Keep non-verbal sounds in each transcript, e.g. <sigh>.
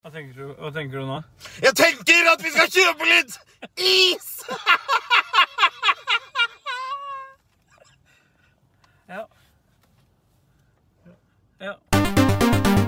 Hva tenker du, hva tenker du nå? Jeg tenker at vi skal kjøpe litt is! Ja. Ja.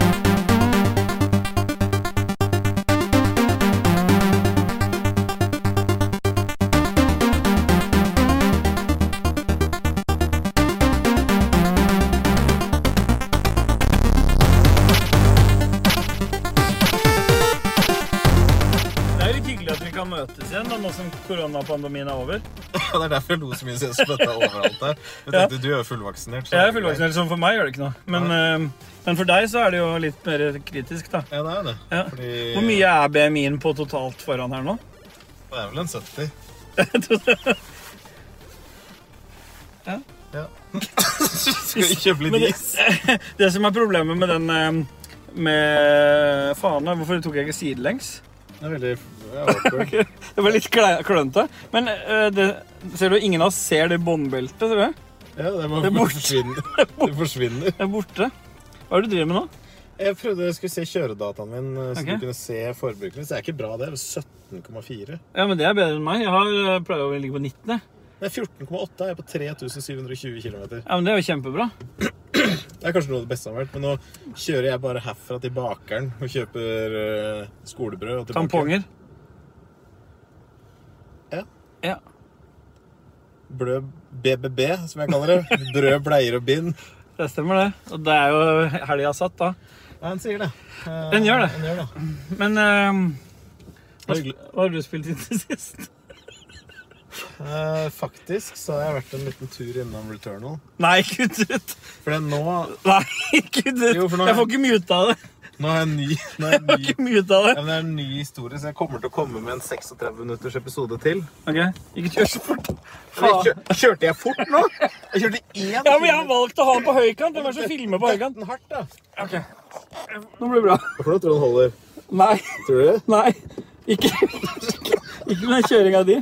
Det er litt hyggelig at vi kan møtes igjen da, nå som koronapandemien er over. Ja, det er derfor jeg lo så mye siden jeg spytta overalt der. Jeg tenkte, Du er jo fullvaksinert. så Jeg er det greit. fullvaksinert, så for meg gjør det ikke noe. Men, eh, men for deg så er det jo litt mer kritisk, da. Ja, det er det. Ja. Fordi Hvor mye er BMI-en på totalt foran her nå? Det er vel en 70. Ja. ja. skal vi kjøpe Men litt is? det, <laughs> det som er problemet med den eh, med fana Hvorfor tok jeg ikke sidelengs? Det er veldig <laughs> ja, awkward. Det var litt klei- klønete. Men eh, det, ser du, ingen av oss ser det båndbeltet, ser du? Ja, <laughs> Det det, er bare borte. forsvinner. det forsvinner. Det er borte. Hva er det du driver med nå? Jeg prøvde jeg skulle se kjøredataen min, eh, så Ok. du kunne se forbruket mitt. Det er ikke bra, det. Det er 17,4. Ja, men Det er bedre enn meg. Jeg har, eh, pleier å ligge på 19. jeg. Det er 14,8. Jeg er på 3720 km. Ja, men Det er jo kjempebra. Det er kanskje noe av det beste som har vært, men nå kjører jeg bare herfra til bakeren og kjøper eh, skolebrød. Og til Tamponger. Ja. Ja. bakeren. Blød BBB, som jeg kaller <laughs> det. Brød, bleier og bind. Det stemmer, det. Og det er jo helga satt, da. Nei, han sier det. Eh, Den gjør det. Den gjør det. Men eh, hva, Hyggelig. hva har du spilt inn til sist? Eh, faktisk så har jeg vært en liten tur innom Returnal. Nei, kutt ut! For nå, nå Nei, kutt ut! Jo, for nå- Jeg får ikke muta det. har jeg en ny, <laughs> nå har Jeg jeg en får ny ikke muta ja, det. men Det er en ny historie, så jeg kommer til å komme med en 36 minutters episode til. Ok, Ikke kjør så fort. Men Faen. kjør- Kjørte jeg fort nå? Jeg kjørte én Ja, men jeg har valgt å ha den på høykant. Hvem er det som filmer på høykant? Den hardt, da. Ok, Nå blir det bra. Hvorfor tror du den holder? Nei. Tror du det? Nei. Ikke, ikke med den kjøringa di.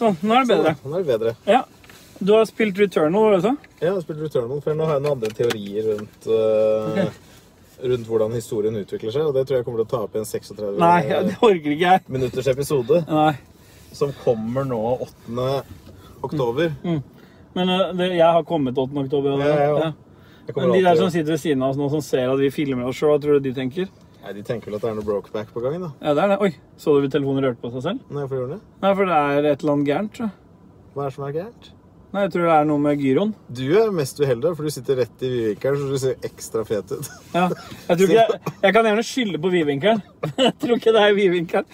Sånn. Nå er det bedre. Den er bedre. Ja. Du har spilt Returnal, var det så? Ja, jeg har spilt Returnal, for nå har jeg noen andre teorier rundt, eh, rundt hvordan historien utvikler seg, og det tror jeg kommer til å ta opp i en 36 Nei, ja, det orker ikke jeg. minutters episode, Nei. som kommer nå 8. oktover. Mm. Men eh, det, jeg har kommet 8. oktober. og det- Ja, jeg også. ja. Jeg kommer Men de der alltid- som sitter ved siden av oss nå, som ser at vi filmer oss sjøl, hva tror du de tenker? Nei, de tenker vel at det er noe brokeback på gang, da. Ja, det er det. Oi, så du telefonen rørte på seg selv? Når jeg får gjøre det. Nei, for det er et eller annet gærent, tror jeg. Hva er det som er gærent? Nei, jeg tror det er noe med gyroen. Du er mest uheldig, for du sitter rett i vidvinkelen, så du ser ekstra fet ut. <laughs> Ja. Jeg, tror ikke jeg, jeg kan gjerne skylde på vidvinkelen. <laughs> Jeg tror ikke det er vidvinkelen.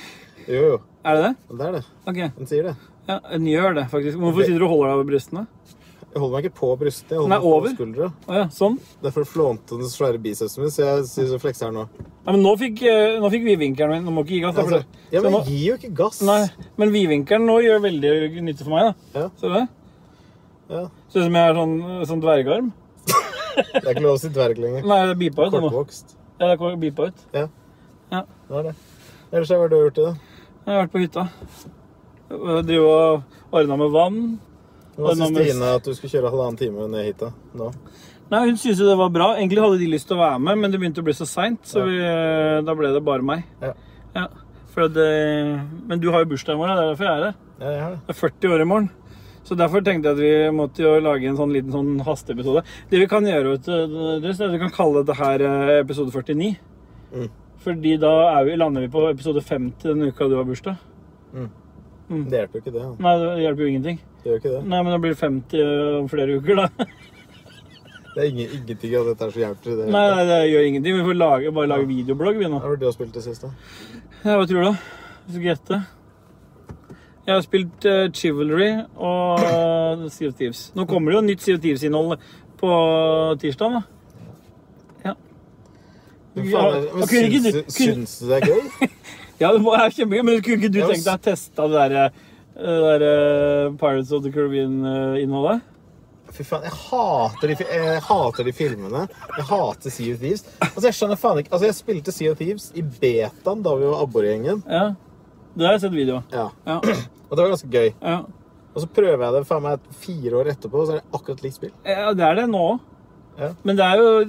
Jo, jo. Er det det? Det er det. Ok. Den sier det. Ja, den gjør det, faktisk. Hvorfor sitter du og holder deg over brystene? Jeg holder meg ikke på brystet, jeg holder Nei, meg på over. skuldra. Å ja, sånn. Derfor flånte den svære bicepsen min, så jeg sier så flekser her nå. Nei, men nå fikk, eh, nå fikk vidvinkelen min Nå må ikke gi gass. da, for Altså, det- ja, så men nå- gi jo ikke gass. Nei, men vidvinkelen nå gjør veldig nytte for meg, da. Ja. Ser du det? Ja. Ser ut som jeg har sånn, sånn dvergarm. Det er ikke lov å si dverg lenger. Nei, det beepa ut det nå. Kortvokst. Ja, det kom- beepa ut. Det er det. Ellers hva har du gjort i dag? Jeg har vært på hytta. Jeg driver og ordna med vann. Det Hva er syns nærmest- Stine at du skulle kjøre halvannen time ned hit da? Nå? Nei, Hun syntes jo det var bra. Egentlig hadde de lyst til å være med, men det begynte å bli så seint, så vi, eh, da ble det bare meg. Ja. Ja, for det, men du har jo bursdag i morgen, det er derfor jeg er her. Ja, jeg har det. Det er 40 år i morgen. Så derfor tenkte jeg at vi måtte jo lage en sånn liten sånn hasteepisode. Det vi kan gjøre, vet du, Andres, er at vi kan kalle dette her eh, episode 49. Mm. Fordi da er vi, lander vi på episode 50 den uka du har bursdag. Det hjelper jo ikke det. da. Nei, det hjelper jo ingenting. Det gjør jo ikke det. Nei, men det blir 50 om flere uker, da. <laughs> Det er ingen, ingenting av dette her som hjelper i det. hele Nei, tatt. nei, det gjør ingenting. Vi får lage, bare lage videoblogg, vi nå. Hva har du har spilt det siste? Ja, hva tror du, da? Hvis du skal gjette. Jeg har spilt eh, Chivalry og eh, Sea of Thieves. Nå kommer det jo nytt Sea of Thieves-innhold på tirsdag, da. Ja, Men faen, men og kunne ikke du- syns, du- kunne- syns du det er gøy? Ja, det var kjempegøy, men kunne ikke du Ja, tenkt deg å teste det der, eh, det der eh, Pirates of the Caribbean-innholdet? Fy faen, jeg hater, de, fi- jeg hater de filmene. Jeg hater Sea of Thieves. Altså, Jeg skjønner faen ikke Altså, jeg spilte Sea of Thieves i betaen da vi var abborgjengen. Ja. Det har jeg sett video av. Ja. Ja, Og det var ganske gøy. ja. Og så prøver jeg det faen meg fire år etterpå, og så er det akkurat likt spill. ja, det er det nå òg. Ja. Men det er, jo,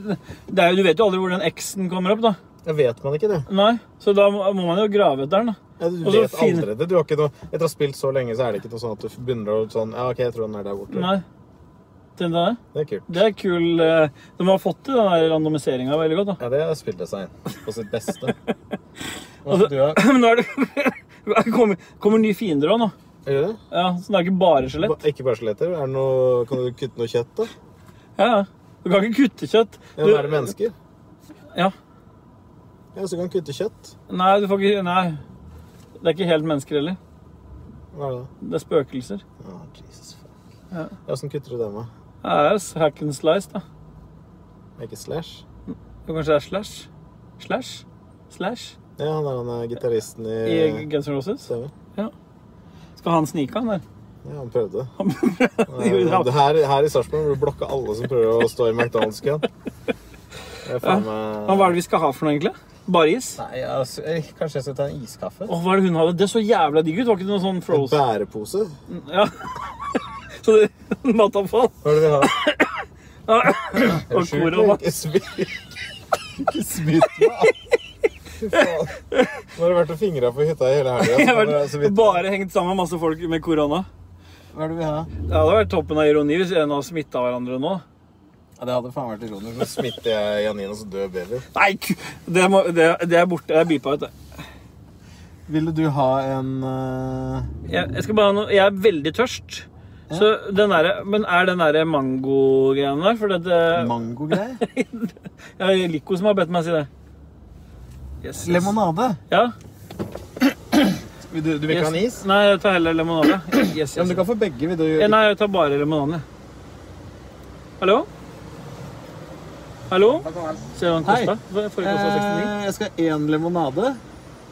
det er jo Du vet jo aldri hvor den X-en kommer opp, da. Jeg vet man ikke det. Nei, så da må må man jo grave etter den. da. Ja, du Og så vet fin- aldri det. Du har ikke noe Etter å ha spilt så lenge, så er det ikke noe sånn at du begynner å sånn Ja, OK, jeg tror den er der borte. Nei. Den der. Det er kult. Det er kul eh, De har fått til den randomiseringa veldig godt. da. <laughs> Ja, det er spilldesign på sitt beste. Hva Altså- skal du ha? Men nå er det <laughs> det kommer, kommer nye fiender òg nå. Gjør du det? Ja, så det er ikke bare skjelett. Ba- Ikke bare skjeletter. Er det noe, kan du kutte noe kjøtt, da? Ja, ja. Du kan ikke kutte kjøtt. Ja, men er det mennesker? Ja. Ja, så kan du kutte kjøtt. Nei, du får ikke Nei. Det er ikke helt mennesker heller. Hva er det da? Det er spøkelser. Å, Jesus fuck. Ja. Ja, Åssen kutter du det med? Det er s- hack and slice, da. Er ikke Slash? Det kanskje er slash? Slash? Slash? Ja, han er han eh, gitaristen i I Guns N' Roses? Stemmer. Skal han snike, han der? Ja, han prøvde. <laughs> Han prøvde- Ja, det her, her i Sarpsborg vil du blokke alle som prøver å stå i McDonald's-køen. Det er faen meg- Men Hva er det vi skal ha for noe, egentlig? Bare is? Nei, altså, eh, Kanskje jeg skal ta en iskaffe? Åh, hva er det hun hadde? Det så jævla digg ut. Var ikke det noe sånn En frozen? bærepose? Ja. Så det <laughs> Matavfall. Hva er det vi har? Ja. Er <clears throat> du Og sjuk, kor eller? og mat. Ikke smitt Ikke smitt meg! da. Fy faen. Nå har du vært og fingra på hytta hele helga. <laughs> Jeg har vært bare hengt sammen med masse folk med korona. Hva er det vi har? Det hadde vært toppen av ironi hvis en av oss smitta hverandre nå. Ja, det hadde faen vært ironisk. Nå smitter jeg Janinas døde baby. Nei, <laughs> ku- det, må, det, det er borte. Det er beepa ut. det. Ville du ha en eh, Jeg, jeg skal bare ha noe Jeg er veldig tørst. Så den derre Men er den derre mango-greien der? For det, det Mangogreie? Jeg er Lico som har bedt meg si det. Yes, yes. Lemonade? Ja. Vil du, du vil ikke ha en is? Nei, jeg tar heller lemonade. Yes, yes. Ja, men du kan få begge. Vil du Ja, Nei, jeg tar bare lemonade. Hallo? Hallo? Ser du hva den Hei. kosta? Forrige kosta 69. Eh, jeg skal ha én lemonade.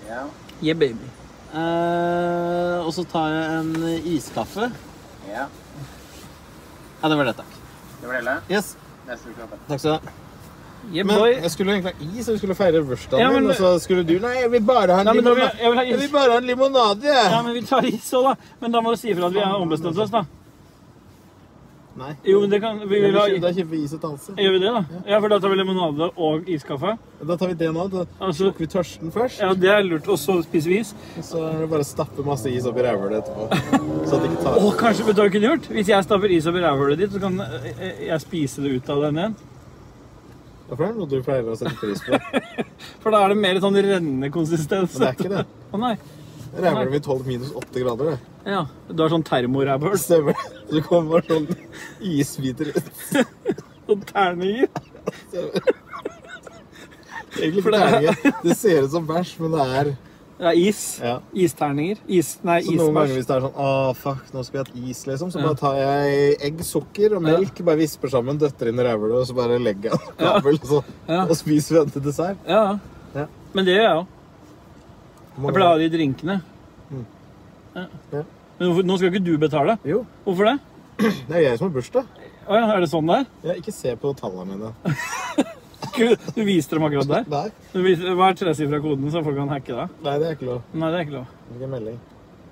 Yeah, baby. Eh, og så tar jeg en iskaffe. Ja, Ja, det var det, takk. det var det hele. Yes, Neste uke. håper jeg. takk skal du ha. Yeah, Men boy. jeg skulle egentlig ha is, og vi skulle feire bursdagen Ja, men- min, og så skulle du Nei, jeg vil bare ha en Nei, men da vil jeg, limonade. jeg vil ha Jeg is. vil bare ha en limonade, jeg. Ja, men vi tar is òg, da. Men da må du si ifra at vi har ombestemt oss, da. Nei. Jo, men det kan Vi vil ha Da kjøper vi is og tanse. Gjør vi det, da? Ja, for da tar vi limonade og iskaffe. Da tar vi det nå. Da Altså, slukker vi tørsten først, ja, det er lurt. Og så spiser vi is. og så er det bare å stappe masse is oppi rævhølet etterpå. Så at det ikke tar Og kanskje vet du hva vi kunne gjort? Hvis jeg stapper is over rævhølet ditt, så kan eh, jeg spise det ut av den igjen. Hvorfor er det noe du pleier å sette pris på? Men For da er det mer sånn rennende konsistens. det er ikke det. Å nei. Rævhølet mitt holder minus åtte grader, det. Ja. Du har sånn termorævhøl Stemmer det? Så det kommer bare sånn isbiter ut. og sånn terninger. Egentlig For for det er- terninger. Det ser ut som bæsj, men det er Det er is. Ja. Isterninger. Is, nei, Så noen ganger isbæsj. hvis det er sånn Å, fuck, nå skal vi ha et is, liksom. Så Ja. bare tar jeg egg, sukker og melk, bare visper sammen, døtter inn i rævhølet, og så bare legger jeg en kabel, og, så, Ja. og spiser vi den til dessert. Ja. Ja. Men det gjør jeg òg. Hvor Jeg mange- pleier å ha de drinkene. Ja. Mm. Ja. Men hvorfor, nå skal ikke du betale. Jo, Hvorfor det? det er jeg som har bursdag. Å ja, er det sånn det er? Jeg ikke se på tallene mine. Gud, Du viste dem akkurat der. Nei, Du viser, hva er tresifra koden, så folk kan hacke deg? nei det er ikke lov. Nei, det er ikke lov. Hvilken melding?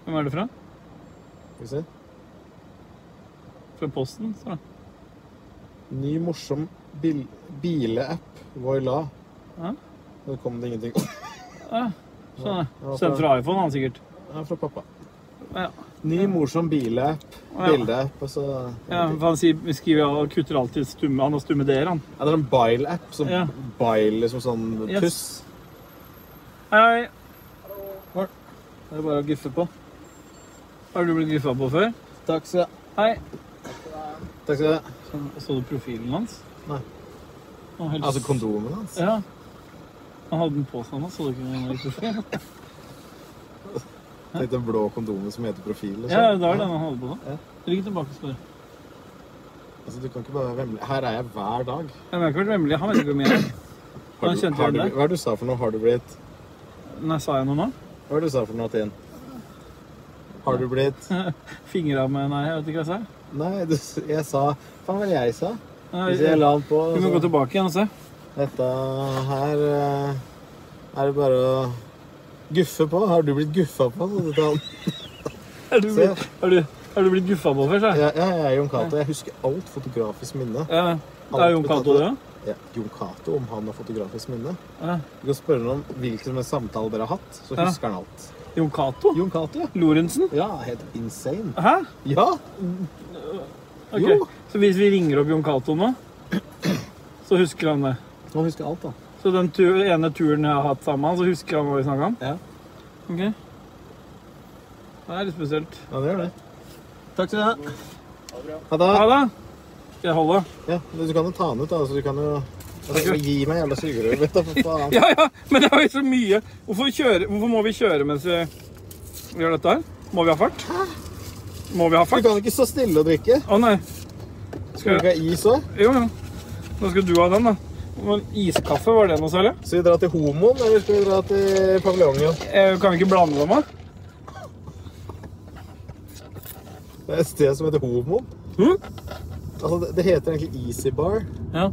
Hvem er det fra? Skal vi se. Fra Posten? står det. Ny morsom bil bileapp. Voila. Ja. Nå kom det ingenting. Det Sånn, Ja, ja. fra- Sendt fra iPhone, han sikkert. er fra pappa. Ja. Ny morsom bileapp. Ja. Bildeapp, og så Ja, for han sier, skriver og kutter alltid stumme Han har stumme d-er, han. Ja, det er en bile-app. Som Ja. bile som sånn puss. Hei, Det er bare å guffe på. har du blitt guffa på før? Takk skal du ha. Hei. Takk skal du ha. Så du profilen hans? Nei. Han var helt- Altså kondomen hans. Ja. Han hadde den på seg nå, så du ikke den var i <laughs> profil? Tenk den blå kondomen som heter profil. Liksom. Ja, det var den han hadde på Ja. nå. Rygg tilbake og spør. Altså, du kan ikke bare være vemmelig. Her er jeg hver dag. Jeg har ikke vært vemmelig. Han vet ikke hvor mye jeg er. Har Han du, kjente har igjen du, deg. hva er det du sa for noe? Har du blitt Nei, sa jeg noe nå? Hva er det du sa for noe, Tinn? Har du blitt Fingra med Nei, jeg vet ikke hva jeg sa. Nei, du, jeg sa Faen, hva var det jeg sa? Nei, Hvis jeg la den på Vi må gå så, tilbake igjen og se. Dette her eh, er det bare å guffe på. Har du blitt guffa på? Så du kan- Er du Se. blitt, er du, er du blitt guffa på før, sa jeg? Ja, ja, jeg er Jon Cato. Jeg husker alt fotografisk minne. Ja. Det er Jon Cato, det òg? ja, Jon Cato om han har fotografisk minne. Ja. Du kan spørre ham om hvilken samtale dere har hatt, så Ja. husker han alt. Jon Cato? Jon Cato, ja. Lorentzen? Ja, helt insane. Hæ? Ja! Ok. Jo. Så hvis vi ringer opp Jon Cato nå, så husker han det. Han husker alt, da. Så den tu- ene turen jeg har hatt sammen med han, så husker han hva vi snakka om? Ja. Ok. Det er litt spesielt. Ja, det gjør det. Takk skal du ha. Ja, da, Ha det! Skal jeg holde? ja, men du kan jo ta han ut, da. Så du kan jo altså, Gi meg jævla sugerør, vet du. For faen. Ja, ja, men det er jo så mye. Hvorfor, kjøre, hvorfor må vi kjøre mens vi gjør dette her? Må vi ha fart? Må vi ha Du fart? kan ikke stå stille og drikke. Å nei. Skal du ikke ha is òg? Jo, jo. Nå skal du ha den, da. Men iskaffe, var det noe særlig? Skal vi dra til Homoen, eller skal vi dra til paviljongen? Eh, Kan vi ikke blande dem, da? Det er et sted som heter Homoen. Hm? Altså, det, det heter egentlig Easy Bar. Ja.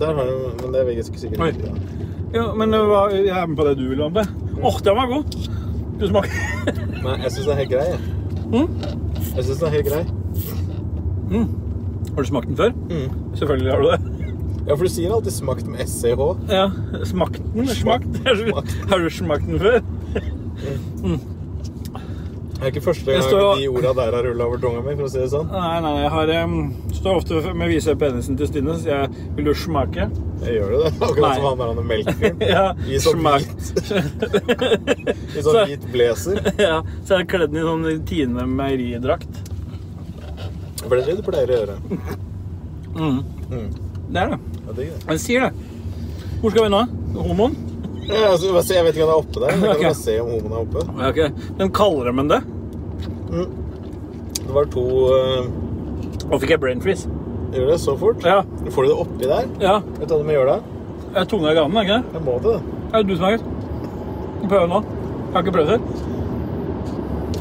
Der har du, men det er vegansk sikkert Oi. ikke. Ja. ja. Men eh, hva- jeg er med på det du vil ha med. Åh, den var god. Du smaker <laughs> Nei, jeg syns den er helt grei. jeg. Mm. Jeg syns den er helt grei. Har du smakt den før? Mm. Selvfølgelig har du det. Ja, for du sier alltid 'smakt med E SCH'. Ja. Smakt den? Smakt? Har du smakt den før? Det er ikke første Jeg gang står- de orda der har rulla over tunga mi, for å si det sånn. Nei, nei, jeg har um, Står ofte med å vise penisen til Stine, så jeg vil jo smake. Jeg gjør det, <laughs> det. Akkurat som Nei. han der han <laughs> melkefyren. Ja, I sånn smak. hvit I sånn Så- hvit blazer. <laughs> Ja, så jeg har kledd den i sånn Tine meieridrakt. For det er det du pleier å gjøre. <laughs> Mm. Mm. Det er det. Ja, digg det. Den sier det. Hvor skal vi nå? Homoen? Ja, altså, bare se, jeg vet ikke om det er oppe der. men Jeg kan Ok. bare se om homoen er oppe. Ja, ok. Men kaller de den det? Det var to øh, Nå fikk jeg brain freeze. Gjør det så fort? Ja. Får du det oppi der? ja. Vet du hva du må gjøre da? Jeg er tunga i ganen, er ikke det? Jeg må det, da. Er det du som er Prøv nå. Jeg har ikke prøvd før.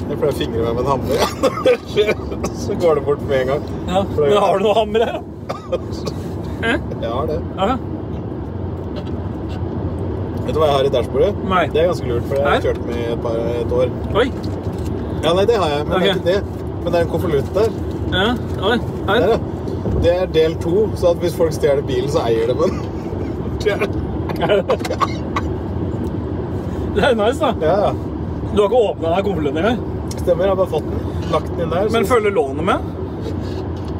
Jeg pleier å fingre meg med en hammer. <laughs> så går det bort med en gang. Ja. Men har du noe hammer <laughs> her? Eh, Jeg har det. Ja. Vet du hva jeg har i dashbordet? Nei. Det er ganske lurt, for jeg har Nei. kjørt med et, par, et år. Oi. Ja, nei, det har jeg, men det er Ok. ikke det. Men det er en konvolutt der. Ja. Oi. Her. Der, ja. Det er del to, så at hvis folk stjeler bilen, så eier de <laughs> den. Det er nice, da. Ja, ja. Du har ikke åpna deg konvolutten engang. Stemmer, jeg har bare fått den. Lagt den inn der. Men følger lånet med?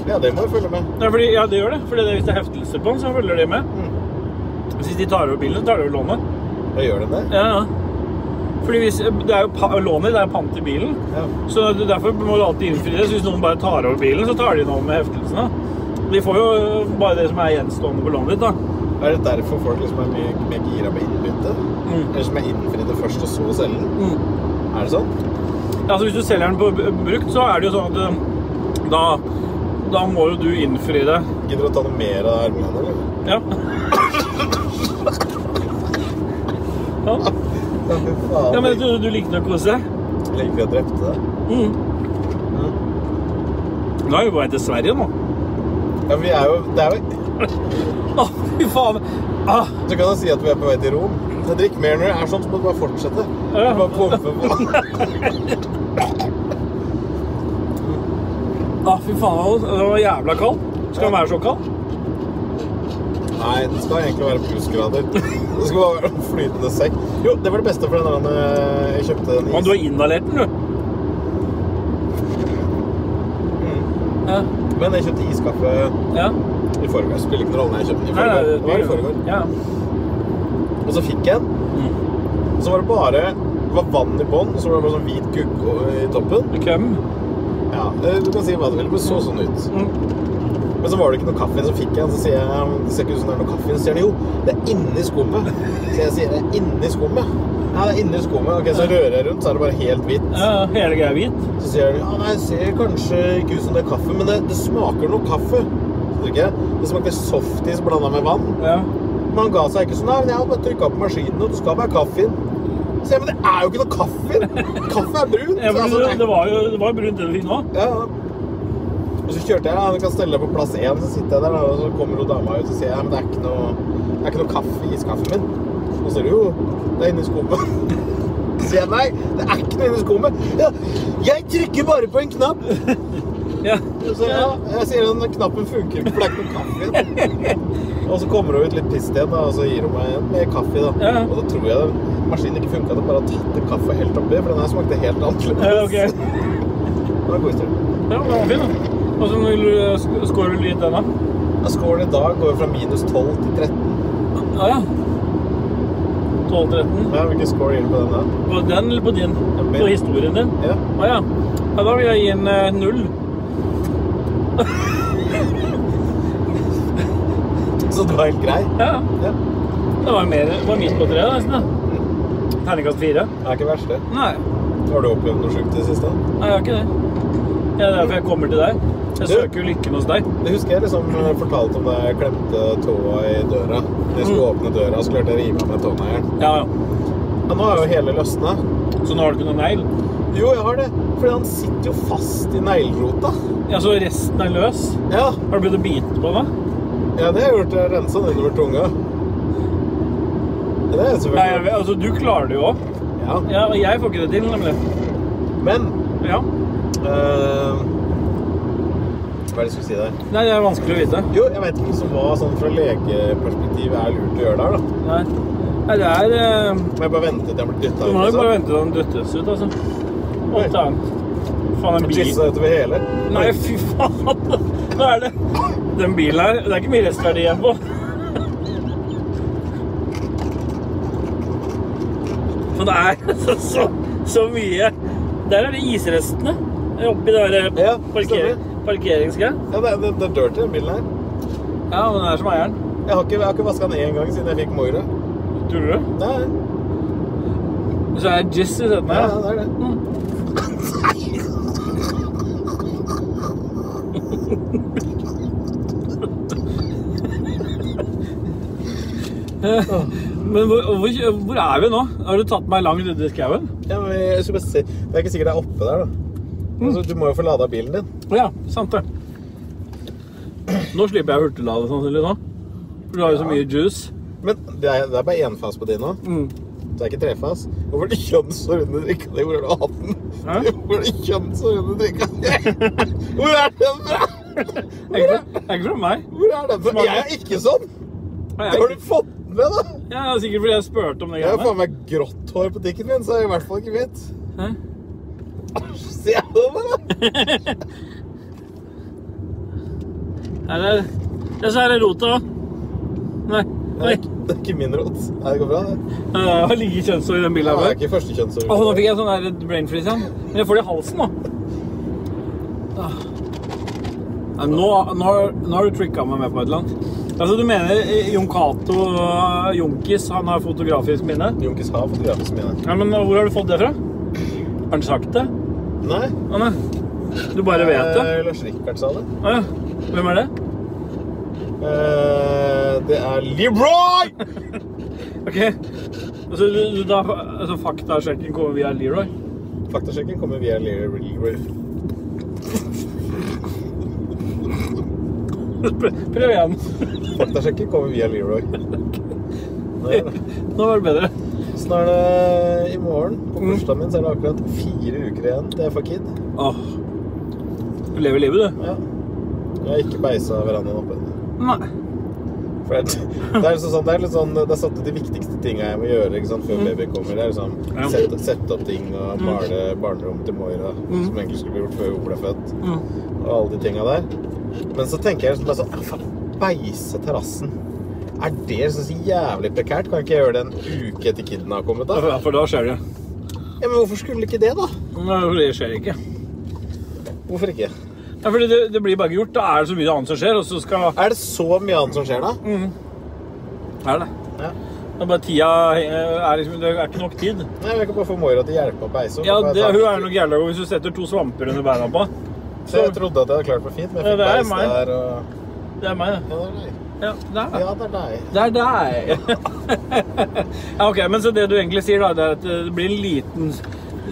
Ja, det må jeg følge med. Ja, fordi, ja, det gjør det. Fordi det, hvis det er heftelser på den, så følger de med. Mm. Hvis de tar over bilen, så tar de over lånet. Da gjør den det. Ja, ja. Fordi hvis, det er jo pa lånet, det er pant i bilen. Ja. Så det- derfor må du alltid innfri det. Så hvis noen bare tar over bilen, så tar de den over med heftelsene. De får jo øh, bare det som er gjenstående på lånet ditt, da. Er det derfor folk liksom er mye mer gira på innbytte? Mm. Eller som er innfridd det først, og så selge den? Er det sånn? Ja, Mm. Altså, hvis du selger den på b- brukt, så er det jo sånn at øh, da, da må jo du innfri det. Gidder du å ta noe mer av armene, eller? Ja. ja. Ja, fy faen. ja, men du, du likte å kose deg? Lenge før jeg drepte deg. Mm. Nå er vi på vei til Sverige nå. Ja, men vi er jo, det er jo... Å, fy faen! Ah, Så kan jeg si at vi er på vei til Rom. Men drikk mer når det er sånn, så må du bare fortsette. Du Ja. Bare pumpe på. ah, fy faen, det var jævla kald. Skal den være så kald? Nei, det skal egentlig være plussgrader. Det skal bare være en flytende sekk. Jo, det var det beste for den der eh, jeg kjøpte den Men du har inhalert den, du. Ja. Mm. Men jeg kjøpte iskaffe ja. i forgår. Spiller ikke noen rolle når jeg kjøpte den i Nei, nei, forgår. Det var i blir jo- forgår. Ja. Og så fikk jeg den. Og så var det bare det var vann i bånn, og så var det bare sånn hvit gugg i toppen. Køm. Ja, eh, du kan si hva du vil, men så sånn ut. Mm. Men så var det ikke noe kaffe, så fikk jeg den, så sier jeg det ser ikke ut som det er noe kaffe. Så sier de jo, det er inni skummet. Så jeg sier det er inni skummet. Ja, det er inni skummet. Ok, så rører jeg rundt, så er det bare helt hvitt. Ja, hele greia er hvit. Så sier de, ja, nei, det ser kanskje ikke ut som det er kaffe, men det, det smaker noe kaffe. Så drikker jeg. Det smakte softis blanda med vann. Ja. Men han ga seg ikke sånn, nei, men jeg har bare trykka på maskinen, og du skal være kaffe inn. Så jeg, men det er jo ikke noe kaffe inn. Kaffe er brun. Ja, Så men altså, det, det- det var jo det var jo brunt det du fikk nå. ja. ja. Og så kjørte jeg, ja, du kan stelle deg på plass én, så sitter jeg der, da, og så kommer jo dama ut og sier ja, men det er ikke noe, det er ikke noe kaffe i iskaffen min. Og så sier du jo, det er inni skummet. <laughs> Så sier jeg nei, det er ikke noe inni skummet. Ja, jeg trykker bare på en knapp. Ja. Så ja, jeg sier den knappen funker ikke, for det er ikke noe kaffe i den. <laughs> Og så kommer hun ut litt pissed igjen, da, og så gir hun meg en med kaffe. da. Ja. Og da tror jeg den maskinen ikke funka, at jeg bare har tatt en kaffe helt oppi, for den her smakte helt annerledes. Ja, ok. Ja, <laughs> Det var en god historie. men den var fin, da. Og så vil du sk- score vel litt den, da? Ja, Scoren i dag går jo fra minus 12 til 13. Ja, ja. 12-13. Ja, Hvilken score gir du på den her? På den eller på din? min. På historien din? Ja. <laughs> Å ja. ja. Da vil jeg gi en eh, null. Så det var helt grei. Ja. Ja. Det var mer det var midt på treet, nesten. da. Terningkast fire. Det er ikke verst, det. Mm. Nei. Har du opplevd noe sjukt i det siste? Nei, jeg har ikke det. Ja, Det er derfor jeg kommer til deg. Jeg Du- søker jo lykken hos deg. Det husker jeg liksom eh, fortalte om da jeg klemte tåa i døra. Når jeg skulle Mm. åpne døra, så klarte jeg å rive av meg tåneglen. Ja, ja. Ja, nå er jo hele løsna. Så nå har du ikke noen negl? Jo, jeg har det. Fordi han sitter jo fast i neglrota. Ja, så resten er løs? Ja, Har du begynt å bite på den? da? ja det har jeg gjort. Jeg har rensa den innover tunga. Ja, Det er Nei, jeg, selvfølgelig vet- altså, du klarer det jo òg. Ja. Ja, og jeg får ikke det til, nemlig. Men Ja. eh, Hva er det jeg skulle si der? Nei, det er vanskelig å vite. Jo, jeg vet ikke liksom hva sånn fra legeperspektiv er lurt å gjøre der, da. Nei, Nei det er eh, Må jeg bare vente til jeg blir liksom? dytta Du må jo bare vente til den døttes ut, altså. Og ta den. Faen, en bil Tisse utover hele. Nei, fy faen! Nå er det Den bilen her Det er ikke mye restverdi igjen på. For det er <laughs> så, så, så mye Der er det isrestene oppi det Ja, der eh, parker, stemmer. parkeringsgreia. Ja, det er, det, det er dirty, den bilen her. Ja, men det er som eieren. Jeg har ikke, jeg har ikke vaska den én gang siden jeg fikk Moira. Tror du det? Nei, Så er det jizz i setene nei, her. da. det er det. Men hvor, hvor, hvor er vi nå? Har du tatt meg langt ute i skauen? Ja, men jeg skulle bare si, det er ikke sikkert det er oppe der, da. Mm. Altså, du må jo få lada bilen din. Å Ja, sant det. Nå slipper jeg hurtiglade sannsynlig nå. For du har jo så mye juice. Men det er, det er bare enfas på din nå. Mm. Det er ikke trefas. Hvorfor er det kjønns og runde drikka di? Hvor er det å ha den? Hæ? <laughs> Hvor er det kjønns og runde drikka di? <laughs> Hvor er den fra? Er ikke fra- er ikke fra meg. Hvor er den fra? Jeg er ikke sånn! Jeg, Har er du fått den med, da? ikke- ja, det er sikkert fordi jeg spurte om det Jeg har greiene. faen meg grått hår på tikken min, så jeg er i hvert fall ikke hvit. Hæ? Ser du det, da? Nei, det er det så er det rotet òg. Nei. Det Nei. er ikke- <laughs> det er ikke min rot. Nei, det går bra, det. Nei, Det var like kjønnshår i den bilen Det her. er ikke første kjønns og Åh, nå fikk jeg sånn der brain freeze igjen. Men jeg får det i halsen nå. Ah. Nei, Nå, nå, nå har du tricka meg med på et eller annet. Altså, du mener eh, Jon Cato eh, Jonkis han har fotografisk minne? Junkis har fotografisk mine. Ja, men eh, Hvor har du fått det fra? Har han sagt det? Nei. Å, nei. Du bare vet det? Eh, Lars Rikard sa det. Å, ja. Hvem er det? Eh, det er Leroy! OK. Altså, du, du, da, altså faktasjekken kommer via Leroy? <laughs> Faktasjekken kommer via Leroy. Leroy. Prøv prøv igjen. Faktasjekken kommer via Leroy. Nei, da. Nå var det bedre. Sånn er det i morgen. På bursdagen min så er det akkurat fire uker igjen til jeg får kid. Åh. Du lever livet, du. Ja. Jeg har ikke beisa verandaen oppe. Nei. For det, er- det er liksom sånn, det er litt sånn, det er satt ut de viktigste tinga jeg må gjøre ikke sant, før babyen kommer. Det er liksom Mm. Ja. Mm. sette, sette opp ting og male barnerommet til Moira, som egentlig skulle bli gjort før hun ble født. Mm. og alle de tinga der. Men så tenker jeg liksom bare sånn «Ah, faen, Beise terrassen. Er det så jævlig prekært? Kan ikke jeg gjøre det en uke etter kiden har kommet? da? Ja, For da skjer det. Ja, Men hvorfor skulle ikke det, da? Nei, for det skjer ikke. Hvorfor ikke? Ja, fordi det, det blir bare ikke gjort. Da er det så mye annet som skjer, og så skal Mm. Er det så mye annet som skjer, da? Er det? Ja. Det er bare tida eh, er liksom, Det er ikke nok tid. Nei, Jeg kan bare få Moira til å hjelpe meg å beise. Ja, Bare det, ta- Hun er nok jævla god hvis du setter to svamper under beina på Så jeg trodde at jeg hadde klart meg fint, men jeg Ja, fikk det er beis meg. der og Det er meg, det. Ja, det Ja, det er er deg. meg. Ja, det er deg. Det er deg. <laughs> ja, ok, men så det du egentlig sier, da, det er at det blir en liten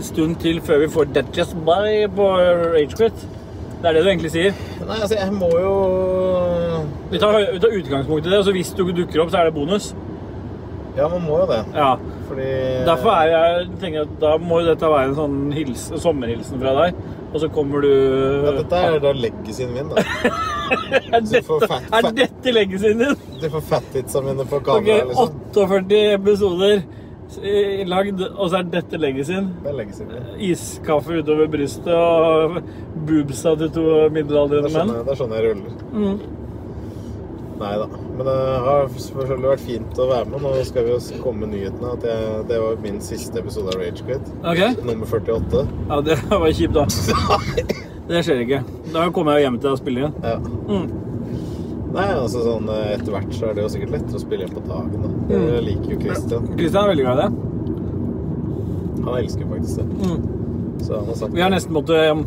stund til før vi får That Just By på Ragequit. Det er det du egentlig sier. Nei, altså, jeg må jo Vi tar, vi tar utgangspunkt i det, og så hvis du dukker opp, så er det bonus. Ja, man må jo det. Ja. Fordi Derfor er jeg, tenker jeg at da må jo dette være en sånn hils, sommerhilsen fra deg. Og så kommer du ja, Dette er da legacyen min, da. <laughs> Er Så får dette, fat- er dette leggesen din? Du får fathitsa mine på Ok, kamera, liksom. 48 episoder eh, lagd, og så er dette leggesen. Det er legacyen min. Iskaffe utover brystet og boobsa til to Det middelaldrende er sånn menn. jeg, det er sånn jeg ruller. Mm. Nei da. Men det har selvfølgelig vært fint å være med. Nå skal vi jo komme med nyhetene. At jeg, det var min siste episode av Ragequit. Ok, Nummer 48. ja, det <laughs> var kjipt da. Det skjer ikke. Da kommer jeg jo hjem til deg og spiller igjen. Ja. Mm. Nei, altså sånn eh, etter hvert så er det jo sikkert lettere å spille inn på dagen, da. Det Mm. liker jo Christian. Kristian er veldig glad i deg. Han elsker faktisk det. Mm. Så han har sagt Vi har nesten måttet um,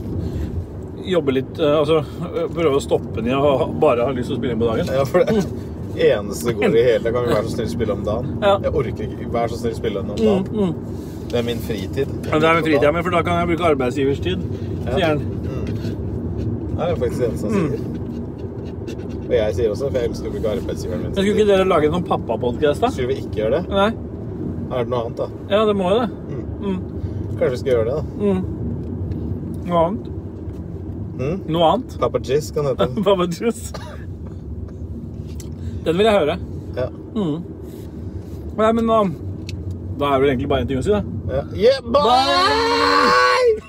jobbe litt, eh, altså eh, prøve å stoppe ned og bare ha lyst til å spille inn på dagen. Ja, for det eneste det går i hele Kan vi være så snill spille om dagen? Ja. Jeg orker ikke. Vær så snill spille om dagen. Mm, mm. Det er min fritid. Ja, Det er med fritida mi, for da kan jeg bruke arbeidsgivers tid, sier han. Det er faktisk det eneste han Mm. sier. Og jeg sier også, for jeg elsker å bruke arbeidsgiveren min. Men skulle ikke dere lage noen pappapodkast, da? Skulle vi ikke gjøre det? Nei? Er det noe annet, da? Ja, det må jo det. Mm. Mm. Kanskje vi skal gjøre det, Mm. Noe annet? da? Mm? Noe annet? <laughs> Papa Jizz kan hete. Papa Juice. Den vil jeg høre. Ja. Mm. Nei, men um, da er det vel egentlig bare én ting å si, da. ja. Yeah, bye!